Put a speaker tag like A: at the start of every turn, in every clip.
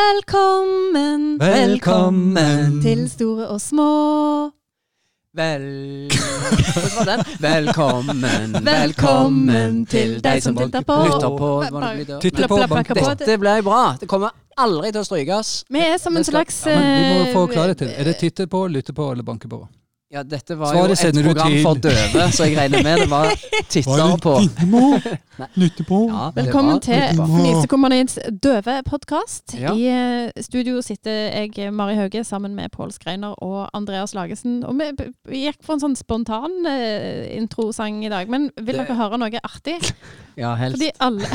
A: Velkommen,
B: Velkommen.
A: til store og små.
B: Vel... Hvordan var den? Velkommen,
A: Velkommen til deg som titter på.
B: Lytter på.
A: Hva-
B: Hva var det vi da-
A: Titt- Plopp,
B: Nei, Dette
A: plopp, plakker på.
B: dette ble bra. Det kommer aldri til å strykes.
A: Vi er som en
B: Det skal-
A: slags
B: Ja,
C: Men vi må få
A: eh,
C: klarhet til. Er det titte på, lytte på eller banke på?
B: Ja, dette var
C: Svaret
B: jo et
C: sender du
B: program
C: til-
B: for døve, så jeg regner med det var titter på. Nei.
C: lytte på?
B: Ja, det var
A: Velkommen til
B: titter på.
A: Fnisekompaniets døve podkast.
B: Ja.
A: I eh, studio sitter jeg, Mari Hauge, sammen med Pål Skreiner og Andreas Lagesen. Og vi b- vi gikk for en sånn spontan eh, introsang i dag, men vil
B: Det-
A: dere høre noe artig?
B: Ja, helst.
A: Fordi alle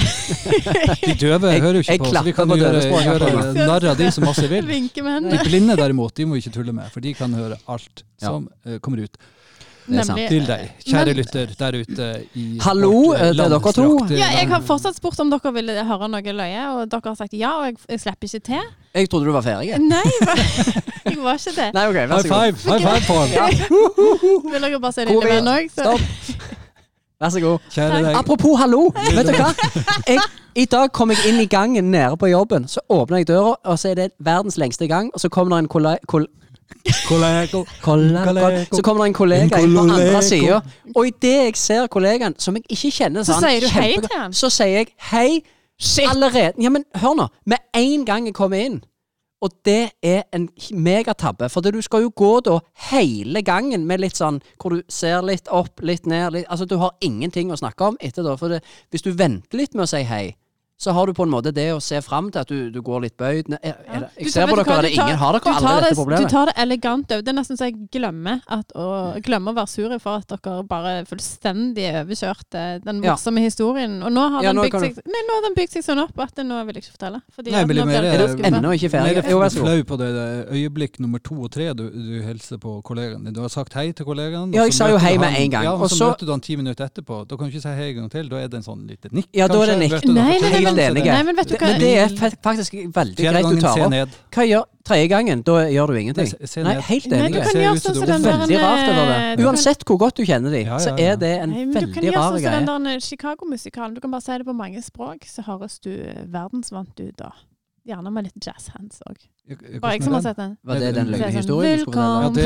C: De døve
B: Jeg-
C: hører jo
B: jeg
C: ikke på, så vi
B: klapper
C: kan
B: på
C: jo gjøre,
B: dørespråket.
C: gjøre narr av de som masse vil.
A: vinker med
C: De
A: hendene.
C: blinde derimot, de må vi ikke tulle med, for de kan høre alt
B: Ja.
C: som eh, kommer ut
B: Det er sant.
A: Nemlig-
C: til deg, kjære
A: Eh, Men-
C: lytter der ute i
B: Hallo,
C: vårt, eh,
B: eh, det er dere to.
C: langstrakte
A: Ja, jeg har
C: land.
A: fortsatt spurt om dere ville høre noe løye, og dere har sagt ja, og jeg, jeg slipper ikke til.
B: Jeg trodde du var ferdig.
A: Nei, jeg var ikke det.
B: Nei, ok, vær
C: High
B: så god.
C: five! High five på han!
A: Vil dere bare se det
B: Hvor
A: inne
B: er-
A: med òg?
B: Stopp. Vær så god.
C: Kjære deg.
B: Apropos hallo, vet du hva? Jeg, I dag kom jeg inn i gangen nede på jobben. Så åpner jeg døra, og så er det verdens lengste gang. Og så kommer det en kolla... Kol,
C: Kollego.
B: kolla, kolla, så kommer det en kollega inn på andre sida. Og idet jeg ser kollegaen, som jeg ikke kjenner
A: Så
B: sånn
A: sier du hei
B: kjempegodt,
A: til han?
B: Så sier jeg hei allerede. Ja, men hør nå. Med en gang jeg kommer inn. Og det er en megatabbe. For du skal jo gå da hele gangen med litt sånn hvor du ser litt opp, litt ned litt, Altså, du har ingenting å snakke om etter da. For det, hvis du venter litt med å si hei, så har du på en måte det å se fram til at du, du går litt bøyd ned. Er, er, jeg ser på dere, er det ingen har dere alle dette
A: Du
B: problemet?
A: tar det elegant over. Det er nesten så jeg glemmer, at, å, glemmer å være sur for at dere bare fullstendig overkjørte den
B: Ja,
A: morsomme historien. Og nå har,
B: Ja,
A: den
B: nå
A: bygd
B: kan du-
A: seg, nei, nå har den bygd seg sånn opp at nå vil jeg ikke fortelle. Fordi
C: Nei,
A: at nå
C: men det
A: blir
C: er mer-
A: dere
B: Er du
A: skuffet.
B: ennå ikke
C: Mer
B: ferdig? Jo, vær så god.
C: flau på det der øyeblikk nummer to og tre du, du hilser på kollegaen din. Du har sagt hei til kollegaen. og
B: Ja, jeg
C: så
B: sa jo
C: møter du
B: hei med
C: han-
B: en gang,
C: Ja, og
B: og
C: så
B: så-
C: møter du han ti minutter etterpå. Da kan du ikke si hei en gang til. Da er det en sånn lite nikk.
B: Ja, da er det
C: kanskje.
B: nikk.
C: Vet du, da
A: Nei,
C: får
A: nei,
C: du tilgang til
B: Helt enig.
A: Nei, men vet du hva?
B: Men det er fa- faktisk veldig
C: Fjerde
B: greit du
C: gangen
B: tar
C: se
B: opp.
C: ned.
B: Hva gjør tredje gangen? Da gjør du ingenting.
C: Nei, se- se
B: Nei,
C: ned.
B: helt
A: Nei,
B: enig.
A: du kan
C: Ser
A: gjøre
C: ut
A: sånn
C: som du
A: som
C: er
A: den der
B: Veldig rart det
A: eh,
B: der. Uansett hvor godt du kjenner de,
C: Ja, ja,
B: så er
C: ja.
B: det en
A: Nei, men du kan
B: veldig
A: gjøre
B: rar
A: sånn som
B: greie.
A: den der Chicago-musikalen. Du kan bare si det på mange språk, så høres du verdensvant ut da. Gjerne med litt jazzhands òg. Bare jeg som har sett den.
B: Var det den
C: Så er det
A: sånn,
B: løgnhistorien du skulle fortelle?
C: Ja, det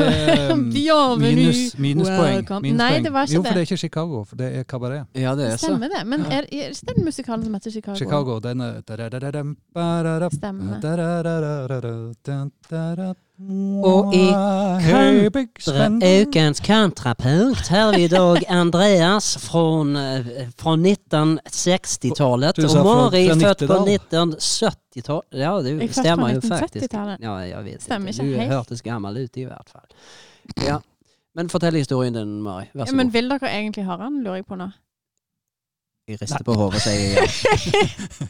C: er um,
A: Bienvenue,
C: minus, minuspoeng.
A: welcome.
C: minuspoeng.
A: Nei, det var ikke
C: jo, for
A: det.
C: det er ikke Chicago, for det er kabaret.
B: Ja, det
A: Det
B: er så.
A: stemmer det. Men er, er ikke den musikalen som heter Chicago?
C: Chicago, den er da-da-da-dam, ba-da-da,
A: Stemmer.
C: da-da-da-da-da-da, da-da-da.
B: Og i
C: Hei, Big Spend.
B: Ukens kontrapunkt har vi i dag Andreas fra, fra 1960-tallet
C: Du sa fra-
B: og Mari
C: fra
B: født på
C: 90-tall.
B: 1970-tallet. Ja,
A: Jeg er
B: det
A: født på
B: stemmer jo faktisk.
A: 1970-tallet.
B: Ja, jeg vet
A: Stemmer
B: ikke.
A: ikke
B: Du
A: helt.
B: hørtes gammel ut i hvert fall. Ja. Men fortell historien din, Mari. Vær
A: Ja,
B: så
A: men
B: god.
A: vil dere egentlig høre den, lurer jeg på nå.
B: Jeg rister på hodet og sier ja.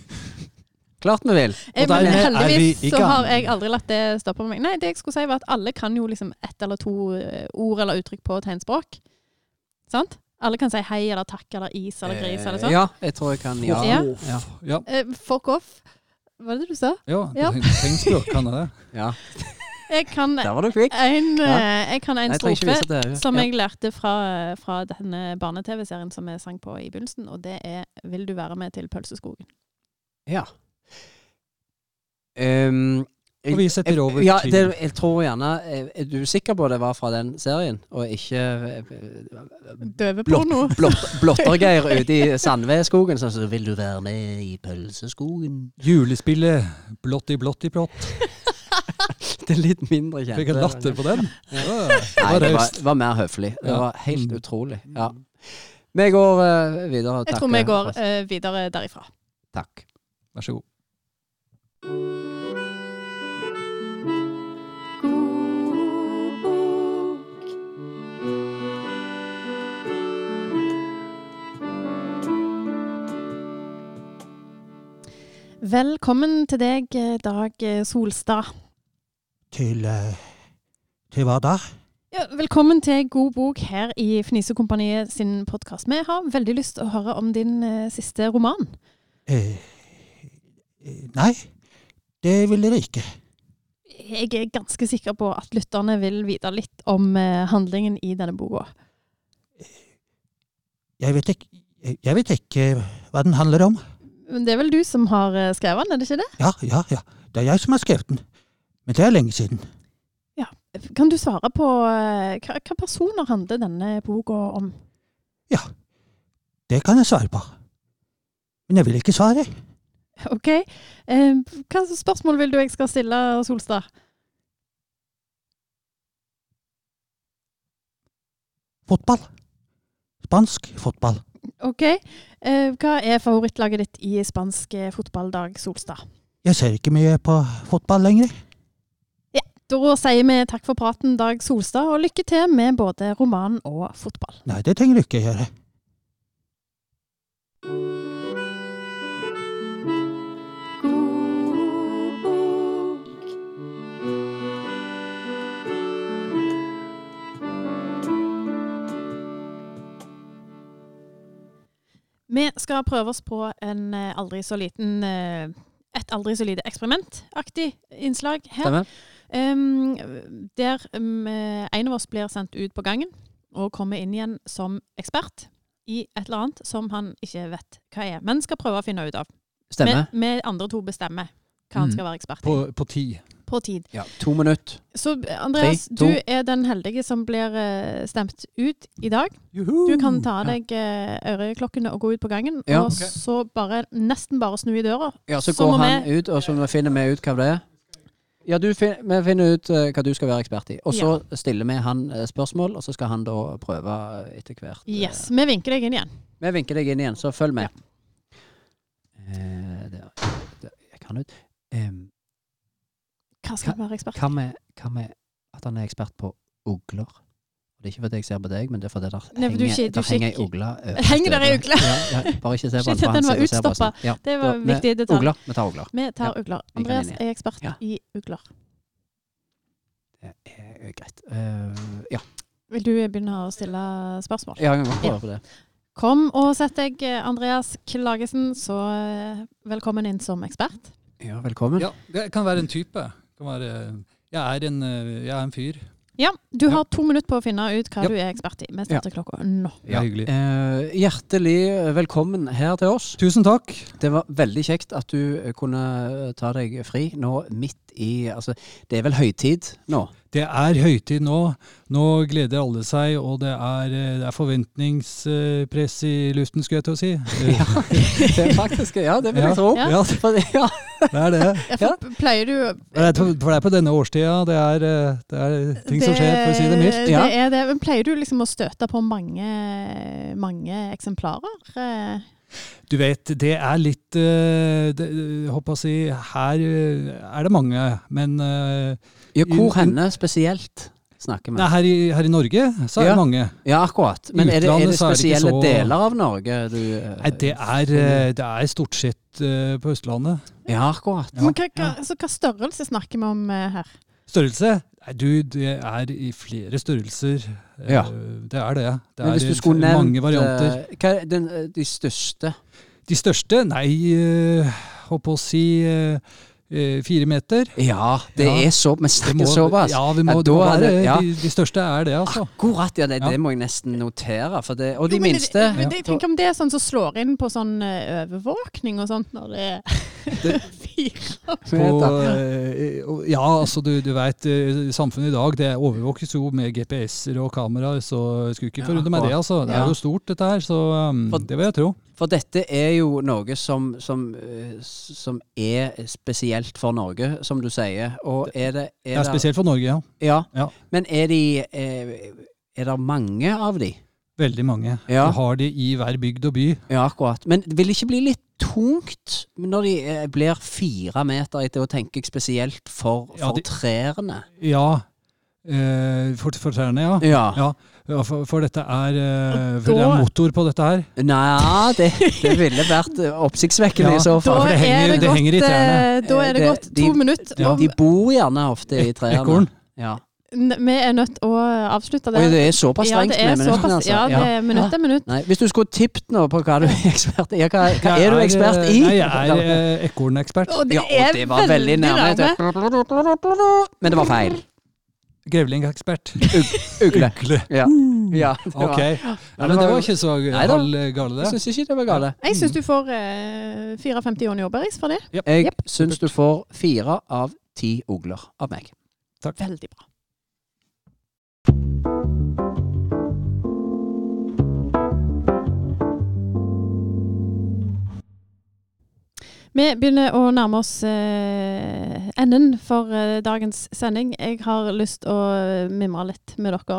B: Klart vi vil.
A: Eh,
C: dermed
A: men
C: er
A: heldigvis
C: vi i
A: så
C: gang.
A: har jeg aldri latt det stoppe meg. Nei, det jeg skulle si var at alle kan jo liksom ett eller to eh, ord eller uttrykk på tegnspråk. Sant? Alle kan si hei eller takk eller is eller gris eller sånn.
B: Eh, Ja, jeg tror jeg kan ja.
A: Ja.
B: Ja.
C: Ja,
A: Eh, Fuck off. Hva er det du sa?
C: ja,
A: Ja.
C: tegnspråk kan jeg det.
B: ja.
A: Jeg kan
B: Der var du quick.
A: en,
B: Ja.
A: eh, jeg kan en
B: Nei, jeg trenger ikke
A: strofe
B: vise det.
A: som
B: Ja.
A: jeg lærte fra, fra denne barne-TV-serien som vi sang på i begynnelsen, og det er 'Vil du være med til pølseskogen'?
B: Ja. Ehm,
C: Og vi setter
B: jeg-
C: over
B: ja,
C: til-
B: det, jeg tror gjerne eh, er- Er du sikker på det var fra den serien, og ikke eh,
A: Døveporno.
B: blott, Blottergeir ute i Sandveskogen som sier 'Vil du være med i pølseskogen?'
C: Julespillet Blotti Blotti Blott.
B: Det er litt mindre kjent.
C: Fikk jeg latter på den? Ja, det
B: Nei,
C: var
B: det var,
C: raust.
B: det var mer høflig. Det
C: Ja.
B: var helt
C: Mm.
B: utrolig. Ja. Vi går eh, videre. og
A: Jeg tror
B: takker
A: vi går
B: for oss.
A: eh, videre derifra.
B: Takk.
C: Vær så god.
A: Velkommen til deg, eh, Dag eh, Solstad.
D: Til eh, Til hva da?
A: Ja, velkommen til God bok her i Fnisekompaniet sin podkast. Vi har veldig lyst til å høre om din eh, siste roman.
D: Eh, eh, nei, det vil dere ikke.
A: Jeg er ganske sikker på at lytterne vil vite litt om eh, handlingen i denne boka.
D: Jeg vet ikke, jeg vet ikke hva den handler om.
A: Men det er vel du som har eh, skrevet den, er det ikke det?
D: Ja, ja, ja. Det er jeg som har skrevet den. Men det er lenge siden.
A: Kan du svare på eh, hva, hva personer handler denne boka om?
D: Ja, det kan jeg svare på. Men jeg vil ikke svare.
A: Ok, eh, Hva slags spørsmål vil du jeg skal stille, Solstad?
D: Fotball. Spansk fotball.
A: Ok, eh, Hva er favorittlaget ditt i spansk eh, fotballdag, Solstad?
D: Jeg ser ikke mye på fotball lenger.
A: Da sier vi takk for praten, Dag Solstad, og lykke til med både roman og fotball.
D: Nei, det trenger du ikke gjøre.
A: Vi skal prøve oss på en eh, aldri så liten eh, et aldri så lite eksperimentaktig innslag her.
B: Stemmer?
A: Em, der em, eh, en av oss blir sendt ut på gangen og kommer inn igjen som ekspert i et eller annet som han ikke vet hva er, men skal prøve å finne ut av.
B: Stemmer.
A: Vi vi andre to bestemmer hva han
C: Mm.
A: skal være ekspert i.
C: På, på ti.
A: På tid.
B: To minutter.
A: Så Andreas,
B: Tre, to.
A: du er den heldige som blir eh, stemt ut i dag. Du kan ta av deg eh, øreklokkene og gå ut på gangen,
B: Ja.
A: og
C: Ok.
A: så bare, nesten bare snu i døra.
B: Ja, så
A: Så
B: går
A: må
B: han
A: vi-
B: ut, og så finner vi ut hva det er. Ja, du fin vi finner ut eh, hva du skal være ekspert i. Og så stiller vi han eh, spørsmål, og så skal han da prøve eh, etter hvert. eh.
A: Yes, vi vinker deg inn igjen.
B: Vi vinker deg inn igjen, så følg med. Eh, der, der gikk han ut. Em,
A: Hva skal du være ekspert i?
B: hva med, hva med at han er ekspert på ugler? Det er ikke fordi jeg ser på deg, men det er fordi der
A: Nei, for du
B: henger,
A: skik- du
B: der henger ei
A: skik-
B: ugle. øverst
A: Henger der ei
B: over.
A: ugle?
B: Ja, ja, bare ikke se på
A: Shit,
B: den, for
A: den
B: han
A: var
B: sitter og ser på oss. Ja,
A: Det var
B: da-
A: en
B: vi-
A: viktig detalj.
B: Ugler. Vi tar ugler.
A: Vi tar
B: Ja,
A: ugler.
B: vi kan
A: Andreas
B: inn
A: er ekspert
B: Ja.
A: i ugler.
B: Det er greit. Eh, ja.
A: Vil du begynne å stille spørsmål?
B: Ja, jeg kan godt prøve på det.
A: Kom og sett deg, eh, Andreas Klagesen, så eh, velkommen inn som ekspert.
B: Ja, velkommen.
C: Ja, det kan være en type. Kan være, jeg, er en, eh, jeg er en fyr.
A: Ja, du
C: Ja.
A: har to minutter på å finne ut hva
C: Ja.
A: du er ekspert i. Vi starter klokka nå.
C: Det er hyggelig.
B: Eh, hjertelig velkommen her til oss.
C: Tusen takk.
B: Det var veldig kjekt at du eh, kunne ta deg fri nå midt i Altså, det er vel høytid nå?
C: Det er høytid nå. Nå gleder alle seg, og det er, eh, det er forventningspress i luften, skulle jeg til å si. Eh,
B: Det er faktisk Ja, det vil jeg
C: Ja.
B: tro.
A: Ja.
C: Ja,
B: For det- ja.
C: det er det.
A: Ja, for Pleier du
C: For det er på- for det er på denne årstida. Det er, eh, det er ting som skjer, for å si det mildt.
B: Ja.
A: det er det. Men pleier du liksom å støte på mange, mange eksemplarer? Eh,
C: Du vet, det er litt eh, det, jeg Håper å si Her eh, er det mange, men eh,
B: ja hvor henne spesielt snakker
C: nei,
B: vi?
C: her, i, her i Norge så er
B: Ja.
C: det mange.
B: Ja, akkurat. Men er det, er
C: Utlandet
B: det
C: så er det ikke
B: spesielle
C: så-
B: deler av Norge du eh,
C: Nei, det er, eh, det er stort sett eh, på Østlandet.
B: Ja, akkurat.
C: Ja.
A: Men hva, hva, så hva størrelse snakker vi om eh, her?
C: Størrelse? Nei, du, det er i flere størrelser. Eh,
B: Ja.
C: Det er det. Det
B: Men
C: er
B: hvis du skulle
C: eh,
B: nevnt
C: mange varianter.
B: eh, hva er den, eh, de største
C: De største? Nei, eh, holdt på å si eh, eh, fire meter.
B: Ja, det
C: Ja.
B: er så altså. Vi
C: Det
B: snakker
C: må-
B: såpass.
C: Ja, vi må,
B: Ja,
C: det må
B: da er
C: være,
B: det- ja.
C: de, de største er det, altså.
B: Akkurat, ja. Det,
C: Ja.
B: det må jeg nesten notere. For det, og de
A: Jo, men det-
B: minste
A: men det- Jeg tenker om det er sånn som slår inn på sånn eh, overvåkning og sånt, når det er fire
C: På,
B: meter.
C: eh, og- ja, altså du, du veit, samfunnet i dag det overvåkes jo med GPS-er og kameraer, så jeg skulle ikke
B: Ja,
C: forundre meg det,
B: akkurat.
C: altså. Det
B: Ja.
C: er jo stort, dette her, så um,
B: For-
C: det vil jeg tro.
B: For dette er jo noe som, som, eh, s- som er spesielt for Norge, som du sier. Og er det,
C: Det er spesielt for Norge, ja.
B: Ja.
C: Ja.
B: Men er de eh, Er det mange av de?
C: Veldig mange.
B: Ja.
C: Du har de i hver bygd og by.
B: Ja, akkurat. Men det vil det ikke bli litt tungt når de eh, blir fire meter etter, og tenker jeg spesielt for, for
C: Ja, de-
B: trærne?
C: Ja. Eh, for, for trærne, ja.
B: Ja.
C: Ja, ja for, for dette er eh,
A: Og
C: for Det
A: da-
C: er motor på dette her.
B: Nei, det, det ville vært eh, oppsiktsvekkende
C: Ja,
B: i
A: Da
B: så fall.
C: for det
A: er
C: henger-
A: det
C: det
A: godt,
C: henger i trærne.
A: eh, Da er det
B: Eh,
A: godt
B: det-
A: to
B: de-
A: minutter om
B: De bor gjerne ofte i trærne.
C: Ekorn.
B: Ja.
A: N- Vi er nødt å eh, avslutte
B: Oi,
A: det.
B: det er såpass
A: Ja,
B: strengt
A: det er
B: med minuttene,
A: såpass.
B: altså.
A: Ja, det er minutt er minutt.
B: Nei, hvis du skulle tippet nå på hva du er ekspert i ja, hva, hva er du
C: Jeg
B: ekspert i?
C: Nei, jeg er eh, ekornekspert.
A: Og det
B: ja, og
A: er
B: det var veldig nærme.
A: nærme.
B: Men det var feil.
C: Grevlingekspert.
B: Ugle.
C: Ugle.
B: Ja. ja det var-
C: Ok. Ja, men det var ikke så
B: Nei da.
C: halv gale,
B: Jeg
C: det.
B: syns ikke det var gale.
A: Jeg syns du får eh, 54 Johnny Åbergs for det.
B: Jeg
A: Jepp.
B: syns du får fire av ti ugler av meg.
A: Veldig bra. Vi begynner å nærme oss eh, enden for eh, dagens sending. Jeg har lyst å mimre litt med dere,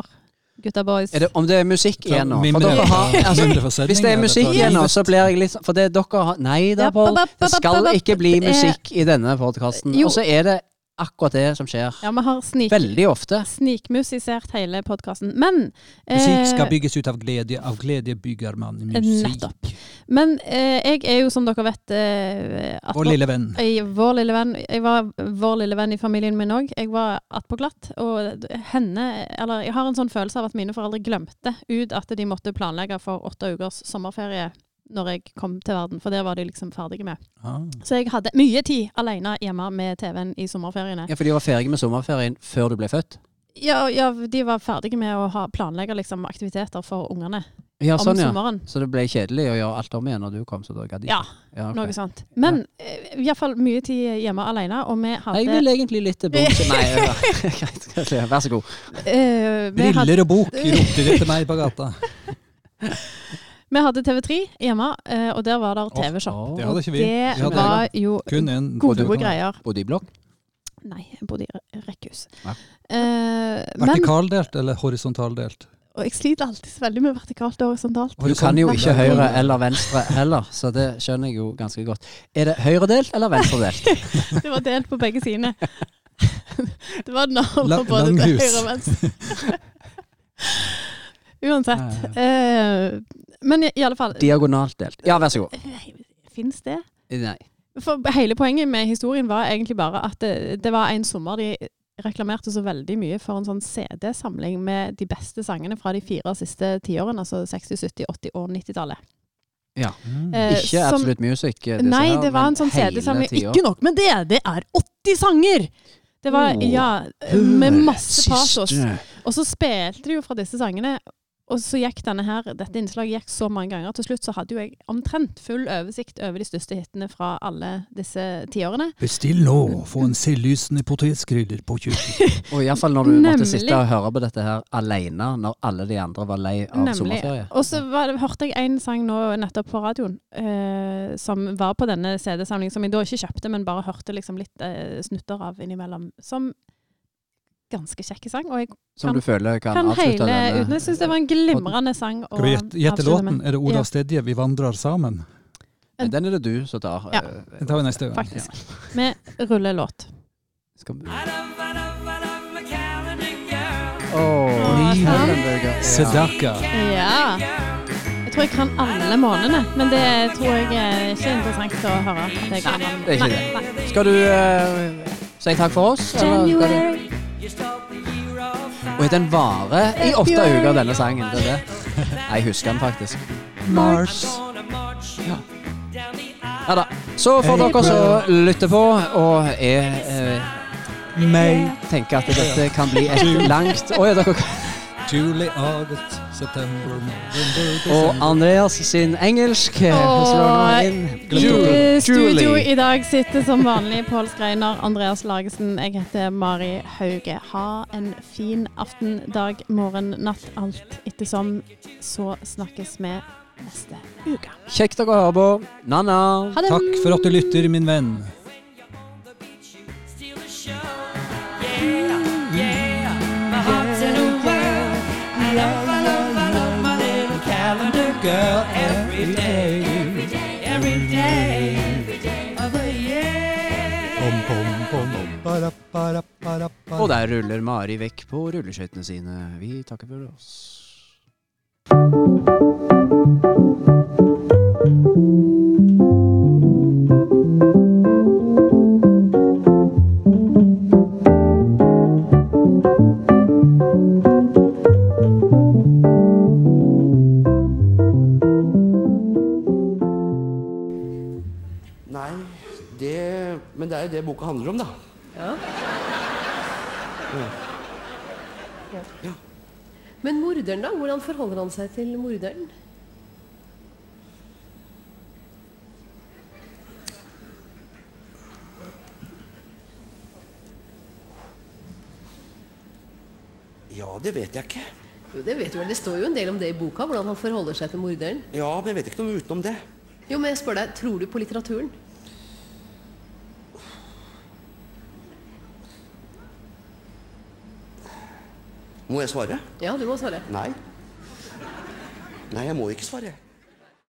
A: gutta boys.
B: Er det, om det er musikk igjen nå? For dere har, altså, hvis det er musikk igjen nå, så blir jeg litt sånn For det dere har Nei da,
A: Ja,
B: Pål.
A: ba, ba, ba,
B: Det skal
A: ba, ba.
B: ikke bli
A: Det er-
B: musikk i denne podkasten.
A: Jo.
B: Og så er det akkurat det som skjer.
A: Ja, vi har snik,
B: Veldig ofte.
A: snikmusisert hele podkasten. Men eh,
C: Musikk skal bygges ut av glede, av glede bygger man musikk.
A: Nettopp. Men eh, jeg er jo, som dere vet eh, at-
C: Vår lille venn.
A: Jeg, vår lille venn, jeg var vår lille venn i familien min òg. Jeg var attpåklatt. Og henne, eller jeg har en sånn følelse av at mine foreldre glemte ut at de måtte planlegge for åtte ukers sommerferie når jeg kom til verden, for det var de liksom ferdige med.
C: Ah.
B: Mm.
A: Så jeg hadde mye tid alene hjemme med TV-en i sommerferiene.
B: Ja, For de var ferdig med sommerferien før du ble født?
A: Ja, ja, de var ferdige med å ha, planlegge liksom, aktiviteter for ungene
B: Ja,
A: om
B: sånn, ja.
A: sommeren.
B: Så det ble kjedelig å gjøre alt om igjen når du kom? så da gadd jeg
A: Ja,
B: ikke. ja ok.
A: noe sånt. Men eh, i hvert fall mye tid hjemme alene, og vi hadde
B: Jeg vil egentlig litt bumse Nei, ja. greit. greit, Vær så god.
A: eh, vi hadde-
C: Briller og bok ropte de til meg på gata.
A: Vi hadde TV3 hjemme, eh, og der var der TV-shop.
C: Det hadde ikke vi.
A: Det
C: Vi hadde
A: var jo
C: Kun en
A: gode
C: både-
A: greier.
B: Bodde i blokk?
A: Nei, jeg bodde i rekkehus.
B: Ja.
A: Eh, men
C: Vertikaldelt eller horisontaldelt?
A: og jeg sliter alltid så veldig med vertikalt og horisontalt.
B: Du kan jo ikke høyre eller venstre heller, så det skjønner jeg jo ganske godt. Er det høyredelt eller venstredelt?
A: Det var delt på begge sidene. Det var
C: La-
A: navler både til
C: langhus.
A: høyre og venstre. Uansett. eh, men i, i alle fall
B: Diagonalt delt. Ja, vær så god.
A: Fins det?
B: Nei.
A: For hele poenget med historien var egentlig bare at det, det var en sommer de reklamerte så veldig mye for en sånn CD-samling med de beste sangene fra de fire siste tiårene, altså 60-, 70-, 80- og 90-tallet.
C: Mm.
A: Eh,
B: Mm. Ikke
A: som-
B: Absolute Music. eh, disse
A: Nei,
B: her,
A: det var
B: men
A: en sånn
B: hele
A: CD-samling.
B: tida.
A: Ikke nok med det, det er 80 sanger! Det var,
B: Oh.
A: ja, med masse patos.
B: Siste.
A: Og så spilte de jo fra disse sangene, og så gikk denne her, dette innslaget gikk så mange ganger. Til slutt så hadde jo jeg omtrent full oversikt over de største hitene fra alle disse tiårene.
C: Bestill nå! Få en selvlysende potetskrydder på kjøkkenet.
B: Og iallfall når du måtte
A: Nemlig.
B: sitte og høre på dette her alene når alle de andre var lei av sommerferie.
A: Og så var, det- hørte jeg en sang nå nettopp på radioen eh, som var på denne CD-samlingen, som jeg da ikke kjøpte, men bare hørte liksom litt eh, snutter av innimellom. Som ganske kjekke sang. Og jeg
B: Som
A: Kan-
B: du føler kan,
A: kan
B: avslutte eh,
A: hele uten.
B: denne
A: Jeg syns det var en glimrende sang. å
C: Skal vi gjette- gjette
A: avslutte
C: låten?
A: med.
C: Er det Ola
A: Ja.
C: Stedje, 'Vi vandrer sammen'?
B: Nei, Den er det du som tar.
A: Ja.
B: eh,
C: Den tar vi neste gang.
A: Faktisk. Med rullelåt.
B: Skal vi...
A: Åh, sant.
C: Sedaka.
A: Ja. Jeg tror jeg kan alle månedene, men det tror jeg er ikke interessant å høre. at jeg kan alle.
B: Det er ikke
A: Nei,
B: det.
A: nei.
B: Skal du eh, si takk for oss? eller skal du-
A: January.
B: Oi, den varer i åtte uker, denne sangen. Det er det. Nei, Jeg husker den faktisk.
C: Mars.
B: Ja da. Så for dere som lytter på og er eh,
C: May.
B: tenker at dette kan bli et langt Å ja, dere
C: Juli, august, september, november
B: Og Andreas sin engelsk eh, slår nå inn.
A: I studio
B: Julie.
A: i dag sitter som vanlig Pål Skreiner, Andreas Lagesen, jeg heter Mari Hauge. Ha en fin aften, dag, morgen, natt, alt ettersom. Så snakkes vi neste uke.
B: Kjekt dere å høre på. Na-na.
A: Ha det!
C: Takk for at du lytter, min venn.
B: Og der ruller Mari vekk på rulleskøytene sine. Vi takker for oss.
E: Nei, det Men det er jo det boka handler om, da. Ja. Men morderen, da? Hvordan forholder han seg til morderen?
F: Ja, det vet jeg ikke.
E: Jo, Det vet du vel, det står jo en del om det i boka, hvordan han forholder seg til morderen.
F: Ja, men jeg vet ikke noe utenom det.
E: Jo, men jeg spør deg, tror du på litteraturen?
F: Må jeg svare?
E: Ja, du må svare.
F: Nei. Nei, jeg må ikke svare.